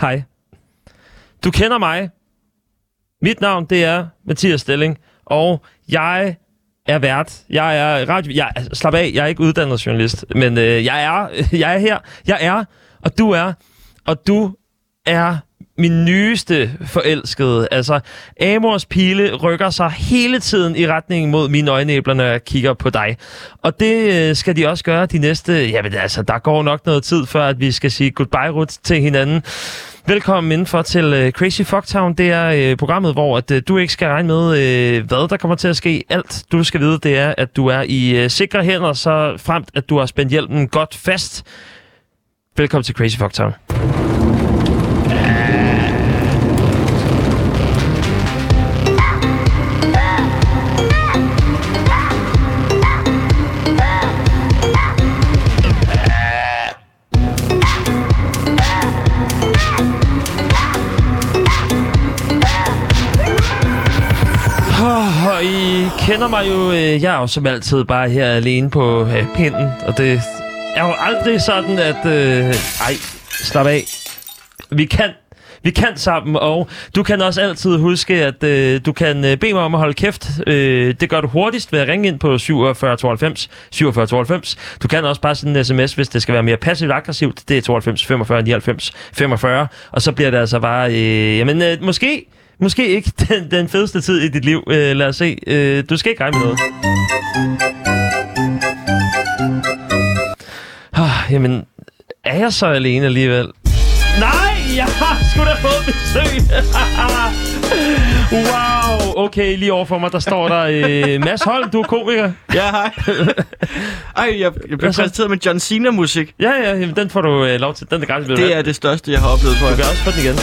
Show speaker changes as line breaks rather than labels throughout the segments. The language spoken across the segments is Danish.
Hej. Du kender mig. Mit navn, det er Mathias Stilling, og jeg er vært. Jeg er radio... Jeg, altså, slap af, jeg er ikke uddannet journalist, men øh, jeg, er, jeg er her. Jeg er, og du er, og du er min nyeste forelskede. Altså, Amors pile rykker sig hele tiden i retning mod mine øjenæbler, når jeg kigger på dig. Og det øh, skal de også gøre de næste... Jamen altså, der går nok noget tid, før at vi skal sige goodbye, Ruth, til hinanden. Velkommen indenfor til øh, Crazy Fucktown. Det er øh, programmet, hvor at, øh, du ikke skal regne med, øh, hvad der kommer til at ske. Alt, du skal vide, det er, at du er i øh, sikre hænder, så fremt, at du har spændt hjelmen godt fast. Velkommen til Crazy Fucktown. Og I kender mig jo, øh, jeg er jo som altid bare her alene på øh, pinden, og det er jo aldrig sådan, at... Øh, ej, slap af. Vi kan vi kan sammen, og du kan også altid huske, at øh, du kan øh, bede mig om at holde kæft. Øh, det gør du hurtigst ved at ringe ind på 47 92 47 92. Du kan også bare sende en sms, hvis det skal være mere passivt aggressivt. Det er 92 45 99 45, og så bliver det altså bare, øh, jamen øh, måske, måske ikke den, den fedeste tid i dit liv. Øh, lad os se. Øh, du skal ikke regne med noget. Ah, jamen, er jeg så alene alligevel? Nej, jeg har sgu da fået besøg. wow, okay, lige overfor mig, der står der øh, Mads Holm, du er komiker.
Ja, hej. Ej, jeg, jeg blev
så?
præsenteret med John Cena-musik.
Ja, ja, jamen, den får du øh, lov til. Den er gratis. ved du
Det
hvad.
er det største, jeg har oplevet, tror
Du
jeg.
kan også få den igen.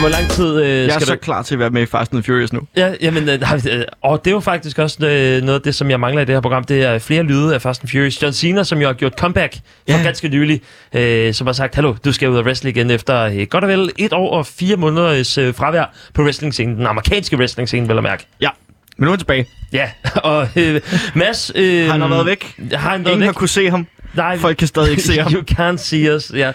Hvor lang tid øh,
Jeg er
skal
så
du...
klar til at være med i Fast and the Furious nu.
Ja, jamen, øh, nej, øh, og det er jo faktisk også øh, noget af det, som jeg mangler i det her program. Det er flere lyde af Fast and Furious. John Cena, som jo har gjort comeback for
Ja.
ganske nylig, øh, som har sagt, hallo, du skal ud og wrestle igen efter øh, godt og vel et år og fire måneders øh, fravær på wrestling-scenen. Den amerikanske wrestling-scene, vel at mærke.
Ja. Men nu er han tilbage.
Ja, og øh, Mads... Øh,
Han har været væk.
Har han været
Ingen
væk?
har kunne se ham.
Nej,
Folk kan stadig ikke se ham.
You can't see us, ja.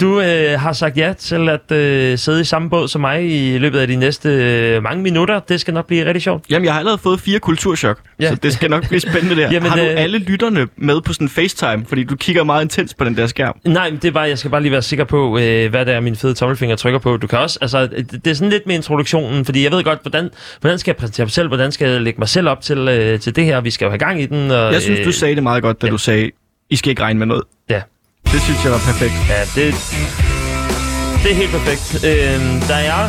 Du øh, har sagt ja til at øh, sidde i samme båd som mig i løbet af de næste øh, mange minutter. Det skal nok blive rigtig sjovt.
Jamen, jeg har allerede fået fire kulturschok,
Ja.
ja. så det skal nok blive spændende der.
Jamen,
Jamen, har du
øh,
alle lytterne med på sådan FaceTime? Fordi du kigger meget intens på den der skærm.
Nej, men det er bare, jeg skal bare lige være sikker på, øh, hvad det er, min fede tommelfinger trykker på. Du kan også, altså, det det er sådan lidt med introduktionen, fordi jeg ved godt, hvordan, hvordan skal jeg præsentere mig selv, hvordan skal jeg lægge mig selv op til, øh, til det her, vi skal jo have gang i den. Og,
Jeg synes, du sagde det meget godt, da
ja.
du sagde, I skal ikke regne med noget.
Ja,
Det synes jeg var perfekt.
ja det, det er helt perfekt. Øh, der er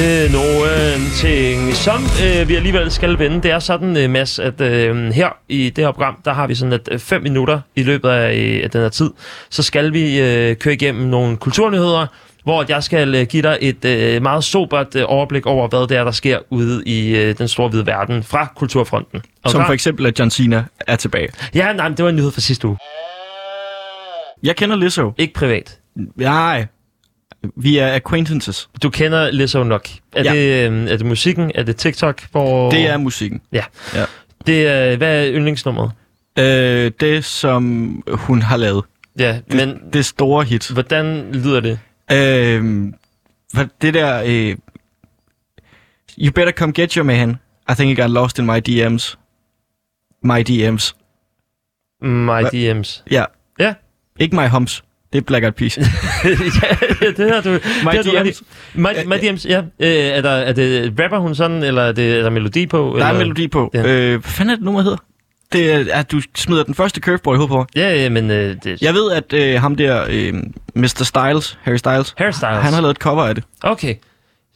øh, nogle ting, som øh, vi alligevel skal vende. Det er sådan, øh, Mads, at øh, her i det her program, der har vi sådan, at øh, fem minutter i løbet af, øh, af den her tid, så skal vi øh, køre igennem nogle kulturnyheder, hvor at jeg skal øh, give dig et øh, meget sobert øh, overblik over, hvad det er, der sker ude i øh, den store hvide verden fra Kulturfronten. Og
Som
fra-
for eksempel, at John Cena er tilbage.
Ja, nej, men det var en nyhed fra sidste uge.
Jeg kender Lizzo.
Ikke privat.
Nej. Vi er acquaintances.
Du kender Lizzo nok. Er, ja.
Ja.
det, øh, er det musikken? Er det TikTok? Hvor...
Det er musikken.
Ja. ja.
Ja.
Det er, hvad er yndlingsnummeret?
Øh, det, som hun har lavet.
Ja,
Det,
men
det store hit.
hvordan lyder det?
Øh, for det der... Øh, you better come get your man. I think I got lost in my DM's. My DM's.
My
Hva-
DM's.
Ja.
Ja.
Ikke my hums. Det er Black Eyed Peas.
ja, det har du.
My
det har du ret i.
DM's.
My, my DM's, ja. Øh, er, der, er det, rapper hun sådan, eller er, det, er der melodi på?
Der
eller?
er en melodi på.
Ja.
Ja. Øh, hvad fanden er det nummer hedder? Det er, at du smider den første curveball i hovedet på mig.
Ja, ja, men øh, det,
Jeg ved, at øh, ham der, øh, Mr. Styles, Harry Styles,
hairstyles.
han har lavet et cover af det.
Okay.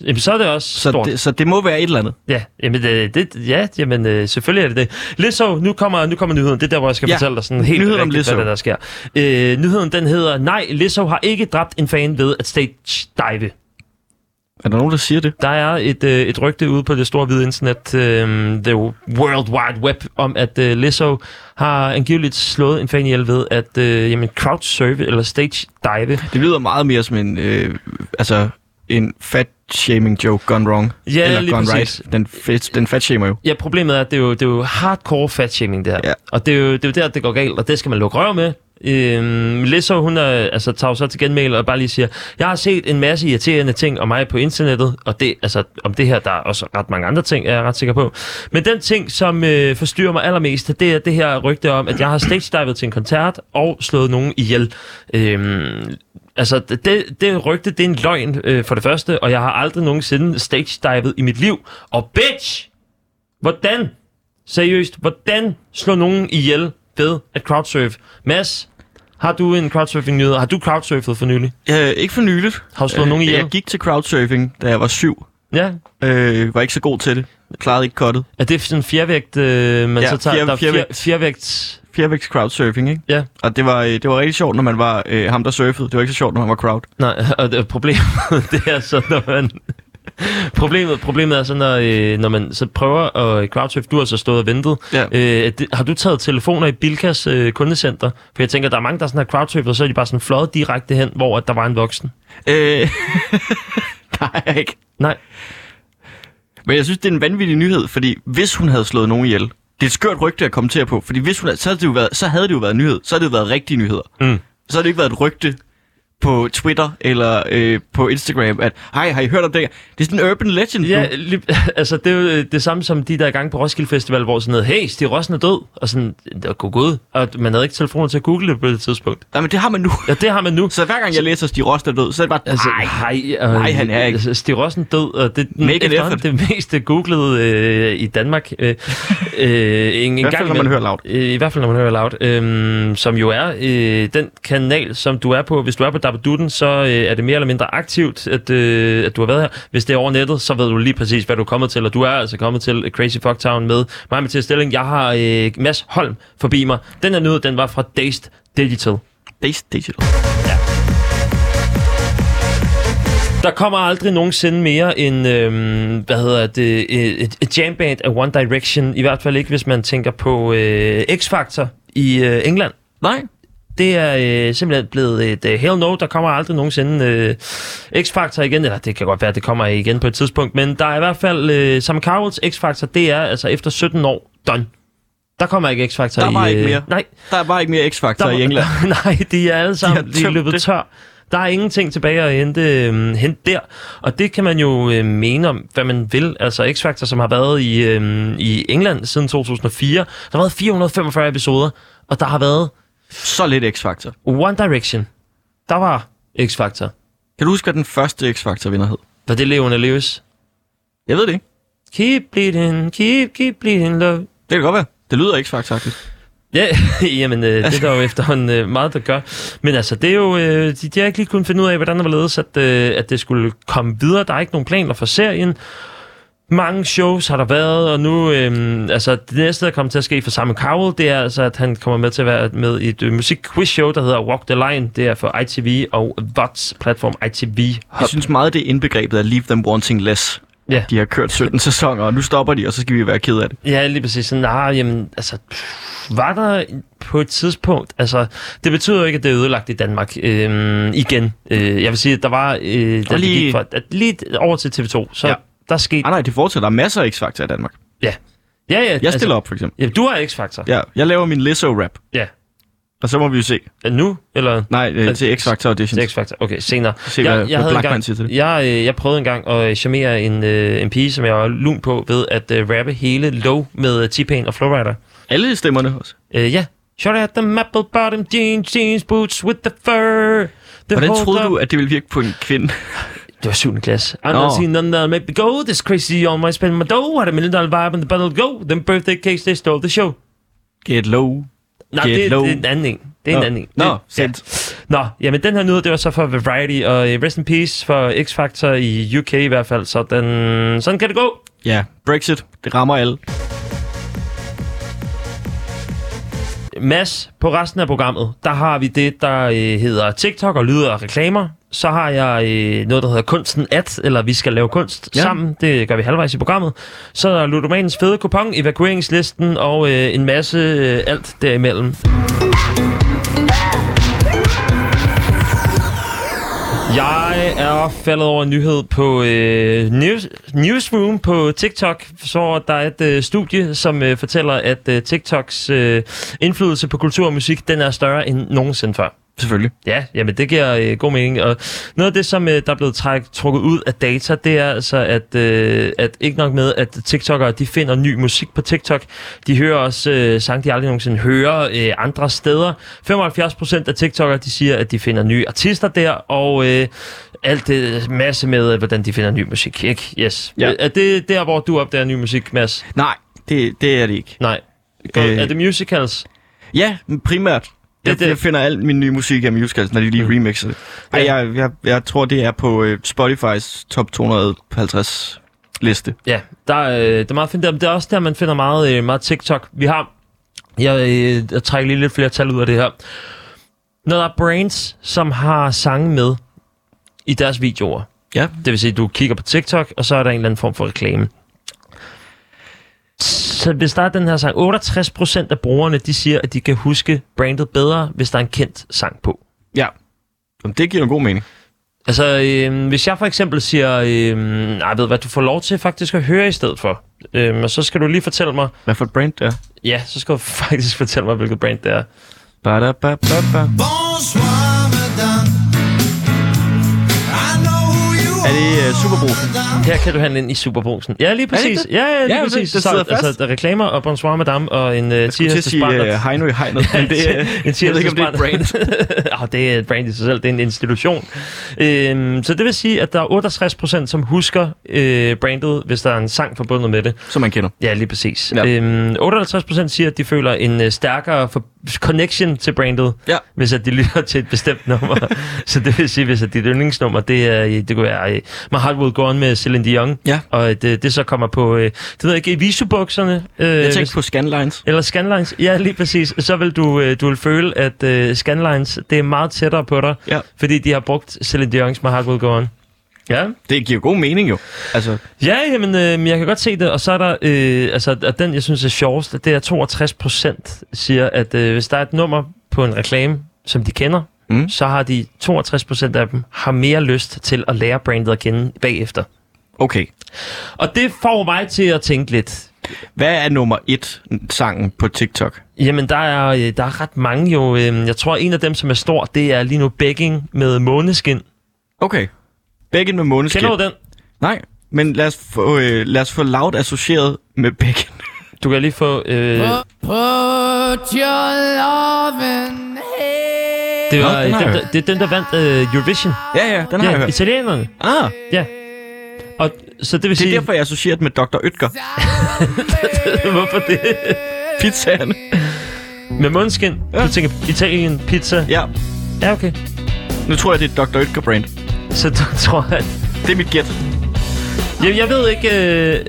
Jamen, så er det også
Så
stort.
det, så det må være et eller andet.
Ja, jamen, det, det, ja, jamen øh, selvfølgelig er det det. Lizzo, nu kommer, nu kommer nyheden. Det er der, hvor jeg skal
Ja.
ja. fortælle dig sådan helt
Nyheden om
rigtigt,
Lizzo.
hvad der, der sker. Øh, nyheden den hedder, nej, Lizzo har ikke dræbt en fan ved at stage dive.
Er der nogen, der siger det?
Der er et, øh, et rygte ude på det store hvide internet, øh, The World Wide Web, om at øh, Lizzo har angiveligt slået en fan ihjel ved at øh, jamen, crowdsurfe eller stage dive.
Det lyder meget mere som en, øh, altså, en fat-shaming joke gone wrong.
Ja,
eller
lige
gone
præcis.
right. Den, fat, den fat-shamer jo.
Ja, problemet er, at det er jo, det er jo hardcore fat-shaming, det her. Ja.
Ja.
Og det er, jo, det er jo der, det går galt, og det skal man lukke røv med. Øhm, Lisser, hun er, altså, tager jo så til genmæl og bare lige siger, jeg har set en masse irriterende ting om mig på internettet, og det, altså, om det her, der er også ret mange andre ting, er jeg ret sikker på. Men den ting, som øh, forstyrrer mig allermest, det er det her rygte om, at jeg har stage-divet til en koncert og slået nogen ihjel. Øhm, altså, det, det rygte, det er en løgn øh, for det første, og jeg har aldrig nogensinde stage-divet i mit liv. Og bitch! Hvordan? Seriøst, hvordan slår nogen ihjel ved at crowdsurfe? Mads, har du en crowdsurfing-nyhed? Har du crowdsurfet for nylig?
Øh, ikke for nyligt. Øh,
Har du slået nogen ihjel?
Jeg gik til crowdsurfing, da jeg var syv.
Ja.
Øh, var ikke så god til det. Klarede ikke kottet.
Er det sådan en fjervægt, øh, man
Ja,
så tager?
fjer-
der er
fjervægt.
fjervægt.
Fjervægt crowdsurfing, ikke?
Ja.
Og det var, øh, det var rigtig sjovt, når man var øh, ham, der surfede. Det var ikke så sjovt, når man var crowd.
Nej, og det, problemet det er så, når man... Problemet, problemet er så, når, øh, når man så prøver at crowdsurfe, du har så stået og ventet.
Ja.
Øh, det, har du taget telefoner i Bilkas øh, kundecenter? For jeg tænker, der er mange, der sådan har crowdsurfet, og så er de bare sådan fløjet direkte hen, hvor at der var en voksen.
Øh, nej, ikke.
Nej.
Men jeg synes, det er en vanvittig nyhed, fordi hvis hun havde slået nogen ihjel, det er et skørt rygte at kommentere på, fordi hvis hun havde, så, havde det jo været, så havde det jo været en nyhed, så havde det jo været rigtige nyheder.
Mm.
Så havde det ikke været et rygte på Twitter eller øh, på Instagram, at hej, har I hørt om det? her?" Det er sådan en urban legend nu.
Ja, lige, altså det er jo øh, det samme som de der gang på Roskilde Festival, hvor sådan noget, hey, Stig Rossen er død, og sådan, god god, og man havde ikke telefoner til at google det på det tidspunkt.
Nej, men det har man nu.
Ja, det har man nu.
Så hver gang jeg læser Stig Rost er død, så er det bare,
Altså,
altså,
nej, øh,
nej, han er ikke. Mm,
Altså, Stig Rossen død, og det
Make an
er efterhånden det mest googlede øh, i Danmark. Øh, øh, en, I
hvert fald, når man hører Loud.
Øh, I hvert fald, når man hører Loud. Øh, som jo er øh, den kanal, som du er på. Hvis du er på Dabaduten, så øh, er det mere eller mindre aktivt, at, øh, at du har været her. Hvis det er over nettet, så ved du lige præcis, hvad du er kommet til. Og du er altså kommet til Crazy Fuck Town med mig, Mathias Stilling. Jeg har øh, Mads Holm forbi mig. Den her nyhed, den var fra Dazed Digital.
Days Digital.
Der kommer aldrig nogensinde mere en, øhm, hvad hedder det, et, et jamband af One Direction. I hvert fald ikke, hvis man tænker på øh, X-Factor i øh, England.
Nej.
Det er øh, simpelthen blevet et øh, hell no. Der kommer aldrig nogensinde øh, X-Factor igen. Eller det kan godt være, at det kommer igen på et tidspunkt. Men der er i hvert fald øh, Sam Cowells X-Factor. Det er altså efter 17 år done. Der kommer ikke X-Factor
Der
i... øh,
var ikke mere.
Nej,
Der er bare ikke mere X-Factor
der
i
var-
England.
Nej, de er alle sammen
De har
de er
tømt
løbet
det.
tør. Der er ingenting tilbage at hente, øhm, hente der. Og det kan man jo øh, mene om, hvad man vil. Altså X-Factor, som har været i, øhm, i England siden 2004, der har været 445 episoder, og der har været
Så lidt X-Factor.
One Direction. Der var X-Factor.
Kan du huske, hvad den første X-Factor vinder hed?
Var det Leona Lewis?
Jeg ved det ikke.
Keep bleeding, keep, keep bleeding love.
Det kan godt være. Det lyder X-Factor-agtigt.
Ja, jamen, øh, det er der jo efterhånden øh, meget, der gør. Men altså, det er jo, øh, de, de har ikke lige kunnet finde ud af, hvordan det var ledes, at, øh, at det skulle komme videre. Der er ikke nogen planer for serien. Mange shows har der været, og nu, øh, altså, det næste, der kommer til at ske for Simon Cowell, det er altså, at han kommer med til at være med i et øh, musikquiz-show, der hedder Walk the Line. Det er for ITV og VODs platform ITV Hub.
Jeg synes meget, det er indbegrebet af Leave Them Wanting Less.
Ja.
De har kørt 17 sæsoner, og nu stopper de, og så skal vi være ked af det.
Ja, lige præcis. Sådan, nah, jamen, altså, pff, var der på et tidspunkt... Altså, det betyder jo ikke, at det er ødelagt i Danmark øhm, igen. Øh, jeg vil sige, at der var... Øh, der
lige-
lige... Gik fra, at lige over til TV2, så
Ja.
ja. der skete...
Ah, nej, det fortsætter. Der er masser af X-Factor i Danmark.
Ja, ja. ja
Jeg stiller op, for eksempel.
Ja, du er X-Factor.
Ja, jeg laver min Lizzo-rap,
Ja.
og så må vi jo se.
ja. Nu, eller...
Nej, øh,
Altså,
til X-Factor Auditions.
Til X-Factor. Okay, senere.
Se, hvad- hvad
havde
Blackman
engang-
siger til det.
Jeg, øh, jeg prøvede engang at øh, charmere en, øh, en pige, som jeg var lun på, ved at øh, rappe hele Low med øh, T-Pain og Flowrider.
Alle stemmerne også.
Øh, ja. Shot at the apple bottom jeans, jeans boots with the fur. The
Hvordan
hold
troede
up-
du, at det ville virke på en kvinde?
Det var 7. klasse. I'm
Nå.
not seen none that'll make me go. This crazy on my spend my dough. Had a million dollar vibe and the battle go. Them birthday cakes, they stole the show.
Get low.
Nej,
Get
det, det, er
low.
en anden en. Det er en anden en.
Nå,
Det-
sendt.
Nå, jamen den her nyhed, det var så for Variety, og øh, rest in peace for X-Factor i UK i hvert fald, så den, sådan kan det gå.
Ja, Brexit, det rammer alle.
Mads, på resten af programmet, der har vi det, der øh, hedder TikTok og lyder og reklamer. Så har jeg øh, noget, der hedder kunsten at, eller vi skal lave kunst
Ja.
ja. sammen. Det gør vi halvvejs i programmet. Så er der Ludomanens fede kupon, evakueringslisten og øh, en masse øh, alt derimellem. Jeg er faldet over en nyhed på øh, news, Newsroom på TikTok, så der er et øh, studie, som øh, fortæller, at øh, TikToks øh, indflydelse på kultur og musik, den er større end nogensinde før.
Selvfølgelig.
Ja, jamen det giver øh, god mening. Og noget af det, som øh, der er blevet træk, trukket ud af data, det er altså, at, øh, at ikke nok med, at TikTokere de finder ny musik på TikTok. De hører også øh, sang, de aldrig nogensinde hører øh, andre steder. 75% af TikTokere de siger, at de finder nye artister der, og øh, alt det masse med, øh, hvordan de finder ny musik. Ikke? Yes.
Ja.
Ja. Er det der, hvor du opdager ny musik, Mads?
Nej, det, det er det ikke.
Nej.
Øh.
Øh. Er det musicals?
Ja, men primært.
Det-
Jeg,
det- Mm.
jeg finder al min nye musik af musicals, når de lige remixer det. Ej,
Ja.
jeg, jeg, jeg tror, det er på øh, Spotify's top 250 liste.
Ja, der, øh, det er meget fint. Der, det er også der, man finder meget, øh, meget TikTok. Vi har... Jeg, øh, jeg trækker lige lidt flere tal ud af det her. Når der er brands, som har sange med i deres videoer.
Ja.
Det vil sige, at du kigger på TikTok, og så er der en eller anden form for reklame. Så hvis der er den her sang, 68% af brugerne, de siger, at de kan huske brandet bedre, hvis der er en kendt sang på.
Ja. Jamen, det giver en god mening.
Altså, øh, hvis jeg for eksempel siger, øh, nej, ved du hvad, du får lov til faktisk at høre i stedet for, øh, og så skal du lige fortælle mig,
Hvad for et brand der?
Ja, så skal du faktisk fortælle mig, hvilket brand det er.
Ba-da-ba-ba-ba.
Bonsoir, madame. I know who you
Er det øh, Superbrug?
Her kan du handle ind i Superbrugsen. Ja, lige præcis.
det?
Ja, ja, lige
Ja,
ja, præcis.
det- det sidder
så, altså, der er reklamer og bonsoir madame og en uh,
Jeg skulle til at
tirsdags
sige øh, Heino i hegnet, men det, øh, jeg ved ikke, om det er et brand.
oh, det er et brand i sig selv. Det er en institution. Øhm, så det vil sige, at der er 68 procent, som husker øh, brandet, hvis der er en sang forbundet med det.
Som man kender.
Ja, lige præcis.
Ja.
Ja. Øhm, 58 procent siger, at de føler en øh, stærkere for- connection til brandet,
Ja.
hvis at de lytter til et bestemt nummer. så det vil sige, hvis at dit yndlingsnummer, det, er, øh, det kunne være øh, My Heart Will Go On med Celine Dion,
Ja.
og øh, det, det så kommer på, øh, det ved jeg ikke, i visubukserne. Øh,
Jeg
hvis-
tænkte på Scanlines.
eller Scanlines, ja lige præcis. Så vil du, øh, du vil føle, at øh, Scanlines, det er meget tættere på dig,
Ja.
fordi de har brugt Celine Dion's My Heart Will Go On. Ja.
Det giver god mening jo. Altså,
Ja, jamen, øh, men jeg kan godt se det, og så er der, øh, altså, at den, jeg synes er sjovest, det er 62 procent siger, at øh, hvis der er et nummer på en reklame, som de kender,
Mm.
mm. så har de 62 procent af dem har mere lyst til at lære brandet at kende bagefter.
okay.
Og det får mig til at tænke lidt.
Hvad er nummer et sangen på TikTok?
Jamen, der er, øh, der er ret mange jo. Øh, jeg tror, en af dem, som er stor, det er lige nu Begging med Måneskin.
Okay. Bacon med måneskin.
Kender du den?
Nej, men lad os få, øh, lad os få loud associeret med bacon.
Du kan lige få... Øh,
Put your loving hand
det,
Nå,
var,
den
øh,
har
dem,
jeg
der, det er den, der vandt øh, Eurovision.
Ja, ja, den har
Ja,
jeg hørt.
italienerne.
Ah,
Ja. Og, så det vil
det er
sige...
derfor, jeg associerer den med Dr. Ytger.
Hvorfor det?
Pizzaen.
Med mundskin? Ja. Du tænker Italien, pizza?
Ja,
Ja, okay.
nu tror jeg, det er Dr. Ytger brand.
Så du tror, at...
Det er mit gæt.
Jeg, jeg ved ikke... Øh...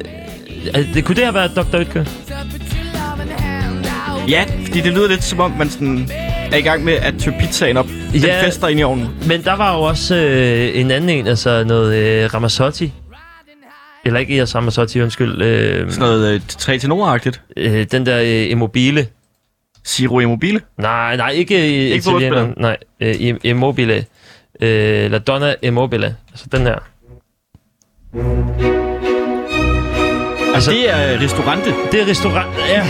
at Det, kunne det have været Dr. Ytger?
out.
Ja, fordi det lyder lidt som om, man sådan er i gang med at tø pizzaen op. Den
Ja.
fester ind i ovnen.
Men der var jo også øh, en anden en, altså noget øh, Ramazzotti. Eller ikke Eros Ramazzotti, undskyld. Øh,
Sådan noget øh, tre tenorer-agtigt.
øh, den der øh, Immobile.
Ciro Immobile.
Nej, nej, ikke, øh, ikke
fodboldspilleren.
Nej, øh, Im- Immobile. Øh, La Donna Immobile. Altså den her.
Altså, det er restaurante.
Det er restaurant... Ja,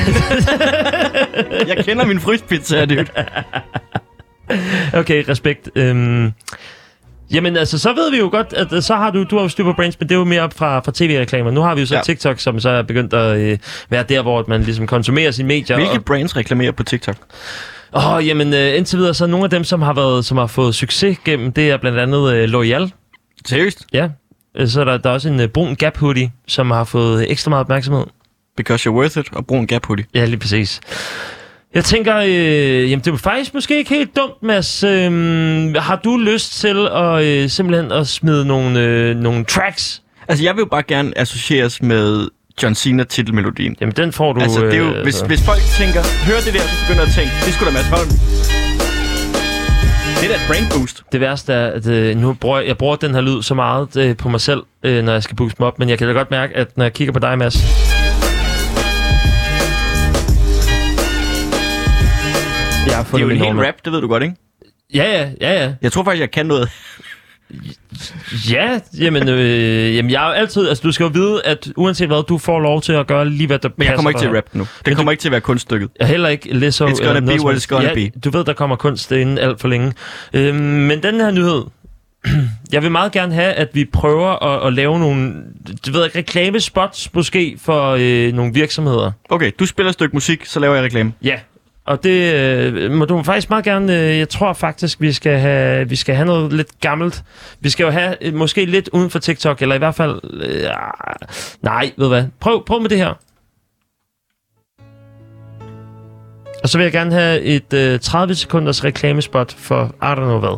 Jeg kender min fryspizza, er det jo.
Okay, respekt. Øhm, jamen altså, så ved vi jo godt, at øh, så har du, du har jo styr på brands, men det er jo mere op fra, fra tv-reklamer. Nu har vi jo så
Ja.
ja. TikTok, som så er begyndt at øh, være der, hvor man ligesom konsumerer sine medier.
Hvilke brands reklamerer på TikTok?
Og, åh, jamen øh, indtil videre, så nogle af dem, som har, været, som har fået succes gennem, det er blandt andet øh, L'Oreal.
Seriøst?
Ja. Øh, Så er der, der er også en øh, brun Gap hoodie, som har fået ekstra meget opmærksomhed.
Because you're worth it, og brug en gap hoodie.
Ja, lige præcis. Jeg tænker, øh, jamen det er faktisk måske ikke helt dumt, Mads. Øhm, har du lyst til at øh, simpelthen at smide nogle, øh, nogle tracks?
Altså, jeg vil jo bare gerne associeres med John Cena-titelmelodien.
Jamen den får du... øh,
Altså, det er jo, hvis, hvis folk tænker, hør det der, så begynder at tænke, det skulle da Mads Holm. Det er da et brain boost.
Det værste er, at øh, nu bruger, jeg bruger den her lyd så meget øh, på mig selv, øh, når jeg skal booste mig op, men jeg kan da godt mærke, at når jeg kigger på dig, Mads, jeg har
Det er
fundet
jo en
min
hel
nummer.
rap, det ved du godt, ikke?
Ja, ja, ja, ja.
Jeg tror faktisk, jeg kan noget.
Ja, jamen, øh, jamen jeg er jo altid... Altså, du skal jo vide, at uanset hvad, du får lov til at gøre lige, hvad der
Men jeg kommer ikke
passer
til at
dig.
rap nu. Det kommer ikke til at være kunststykket.
Jeg heller ikke Lizzo.
It's gonna
eller
be
noget som
what
helst.
it's gonna
ja,
be.
Du ved, der kommer kunst inden alt for længe. Øhm, men den her nyhed... Jeg vil meget gerne have, at vi prøver at, at lave nogle, du ved ikke, reklamespots måske for øh, nogle virksomheder.
Okay, du spiller et stykke musik, så laver jeg reklame.
Ja, og det øh, må du faktisk meget gerne... Øh, jeg tror faktisk, vi skal, have, vi skal have noget lidt gammelt. Vi skal jo have øh, måske lidt uden for TikTok, eller i hvert fald... Øh, ah, nej, ved du hvad? Prøv, prøv med det her. Og så vil jeg gerne have et øh, 30 sekunders reklamespot for I don't know hvad.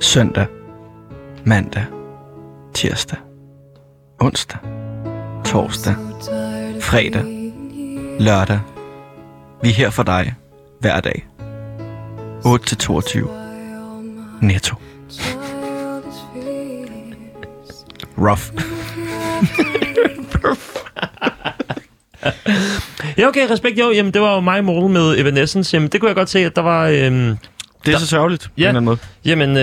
Søndag, mandag, tirsdag, onsdag, torsdag, fredag, lørdag. Vi er her for dig hver dag. 8-22. Netto. Rough.
Ja, okay, respekt. Jo, jamen, det var jo mig i morgen med Evanescence. Jamen, det kunne jeg godt se, at der var... Øh,
Det er så sørgeligt, på
Ja.
en eller anden måde.
Jamen,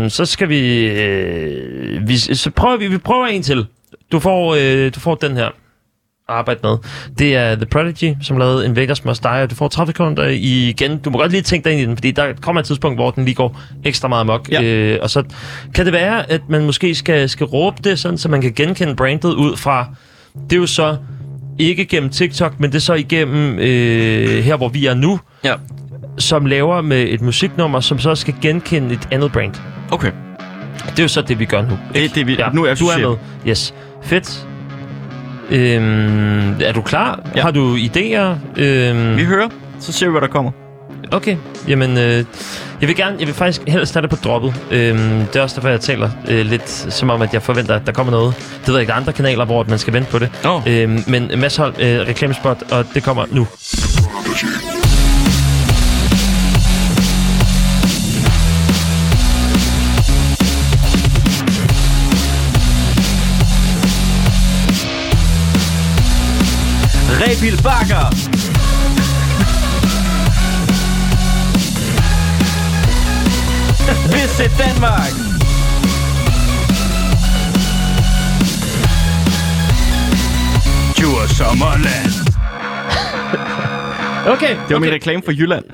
øhm, så skal vi, øh, vi... Så prøver vi, vi prøver en til. Du får, øh, du får den her at arbejde med. Det er The Prodigy, som lavede en Vegas Must Die, og du får 30 sekunder igen. Du må godt lige tænke dig ind i den, fordi der kommer et tidspunkt, hvor den lige går ekstra meget amok.
Ja.
Øh, og så kan det være, at man måske skal, skal råbe det, sådan, så man kan genkende brandet ud fra... Det er jo så ikke gennem TikTok, men det er så igennem øh, her, hvor vi er nu,
Ja.
som laver med et musiknummer, som så skal genkende et andet brand.
Okay.
Det er jo så det, vi gør nu.
Det er det, vi... Nu er
du er
med.
med. Yes. Fedt. Øhm, er du klar? Ja.
Ja.
Har du idéer? Øhm,
Vi hører, så ser vi, hvad der kommer.
okay. Jamen, øh, jeg vil gerne, jeg vil faktisk helst starte på droppet. Øhm, det er også derfor, jeg taler øh, lidt, som om, at jeg forventer, at der kommer noget. Det ved jeg ikke, der er andre kanaler, hvor man skal vente på det.
Nå.
Øhm, men Mads Holm, øh, reklamespot, og det kommer nu.
Rebil Bakker! Visit Danmark! Djurs Sommerland.
Okay.
Det var okay. min reklame for Jylland.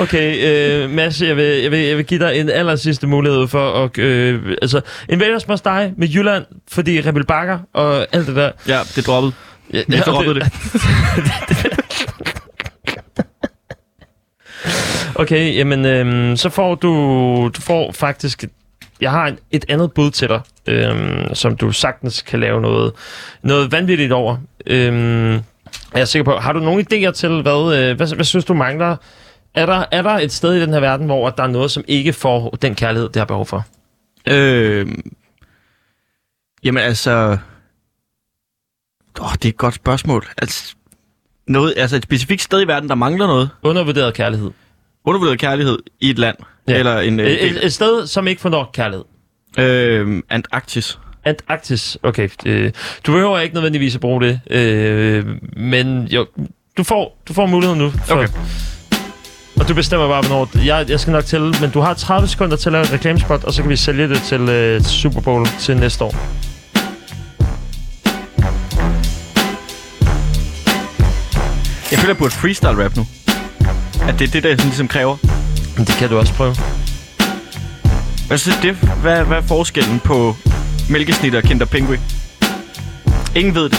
Okay, øh, Mads, jeg vil, jeg, vil, jeg vil give dig en aller sidste mulighed for at... Øh, altså, en vælgers must dig med Jylland, fordi Rebel Bakker og alt det der...
Ja, det droppede.
Ja,
Jeg droppede det.
Okay, jamen, øh, så får du... Du får faktisk... Jeg har et, et andet bud til dig, øh, som du sagtens kan lave noget, noget vanvittigt over. Øh, er jeg sikker på. Har du nogle idéer til, hvad, øh, hvad, hvad synes du mangler? Er der, er der et sted i den her verden, hvor at der er noget, som ikke får den kærlighed, det har behov for?
Øh, jamen altså... Oh, det er et godt spørgsmål. Altså, noget, altså et specifikt sted i verden, der mangler noget.
Undervurderet kærlighed.
Undervurderet kærlighed i et land.
Ja.
Ja. Eller en... Øh,
Et,
del.
et, et sted, som ikke får nok kærlighed.
øh, Antarktis.
Antarktis. Okay. Øh, du behøver ikke nødvendigvis at bruge det. Øh, men jo, du får, du får muligheden nu. For,
Okay.
Og du bestemmer bare, hvornår... Jeg, jeg skal nok tælle, men du har 30 sekunder til at lave et reklamespot, og så kan vi sælge det til øh, Super Bowl til næste år.
Jeg føler, jeg burde freestyle rap nu. At det er det, der sådan, ligesom kræver.
Men det kan du også prøve.
Hvad, så det, hvad, hvad er forskellen på mælkesnit og Kinder Pinguin? Ingen ved det.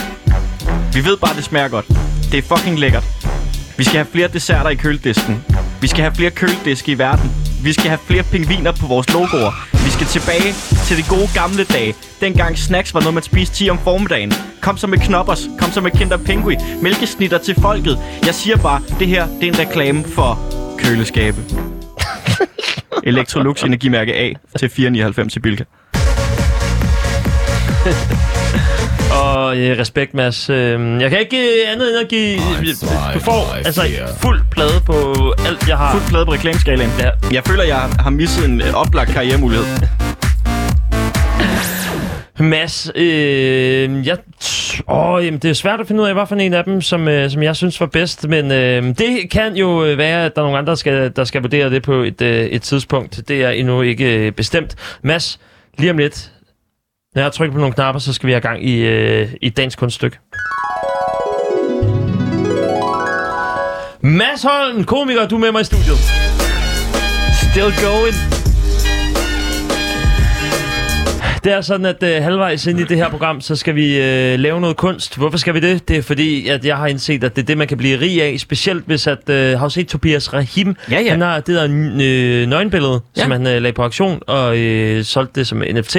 Vi ved bare, at det smager godt. Det er fucking lækkert. Vi skal have flere desserter i køledisken. Vi skal have flere kølediske i verden. Vi skal have flere pingviner på vores logoer. Vi skal tilbage til de gode gamle dage. Dengang snacks var noget, man spiste 10 om formiddagen. Kom så med knoppers. Kom så med kinder pingui. Mælkesnitter til folket. Jeg siger bare, det her det er en reklame for køleskabe. Electrolux energimærke A til 4,99 i Bilka.
Og øh, respekt, Mads. Øh, jeg kan ikke øh, andet end at give...
nej,
Du får
nej,
altså
ja.
fuld plade på alt, jeg har.
Fuld plade på reklameskalaen.
Ja.
Jeg føler, jeg har misset en øh, oplagt karrieremulighed.
Mads, øh, jeg, t- åh, jamen, det er svært at finde ud af, hvad for en af dem, som, øh, som jeg synes var bedst, men øh, det kan jo øh, være, at der er nogle andre, der skal, der skal vurdere det på et, øh, et tidspunkt. Det er endnu ikke øh, bestemt. Mads, lige om lidt, når jeg trykker på nogle knapper, så skal vi have gang i, øh, i dagens kunststykke. Mads Holm, komiker, du er med mig i studiet.
Still going.
Det er sådan, at øh, halvvejs ind i det her program, så skal vi øh, lave noget kunst. Hvorfor skal vi det? Det er fordi, at jeg har indset, at det er det, man kan blive rig af. Specielt hvis, at øh, har du set Tobias Rahim?
Ja, ja.
Han har det der n- øh, nøgenbillede, ja. som
Ja.
han øh, lagde på auktion, og øh, solgte det som NFT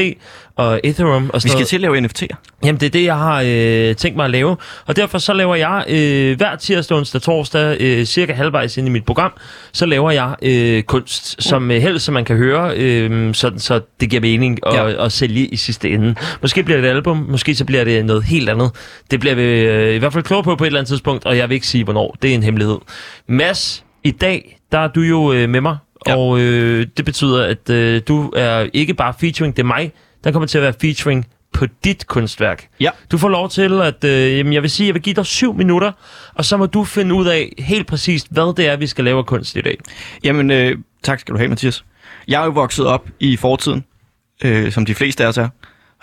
og Ethereum. Og sådan
Vi skal
noget.
til at lave NFT'er.
Jamen, det er det, jeg har øh, tænkt mig at lave. Og derfor så laver jeg øh, hver tirsdag, onsdag, torsdag, øh, cirka halvvejs ind i mit program, så laver jeg øh, kunst, som øh, helst, som man kan høre, øh, sådan, så det giver mening at, ja.
Ja.
at sælge i sidste ende. Måske bliver det et album, måske så bliver det noget helt andet. Det bliver vi øh, i hvert fald klogere på på et eller andet tidspunkt, og jeg vil ikke sige, hvornår. Det er en hemmelighed. Mads, i dag, der er du jo øh, med mig, ja.
Ja.
og øh, det betyder, at øh, du er ikke bare featuring, det er mig, der kommer til at være featuring på dit kunstværk.
Ja.
Du får lov til at, øh, jamen jeg vil sige, jeg vil give dig syv minutter, og så må du finde ud af helt præcist, hvad det er, vi skal lave af kunst i dag.
Jamen, øh, tak skal du have, Mathias. Jeg er jo vokset op i fortiden, øh, som de fleste af os er.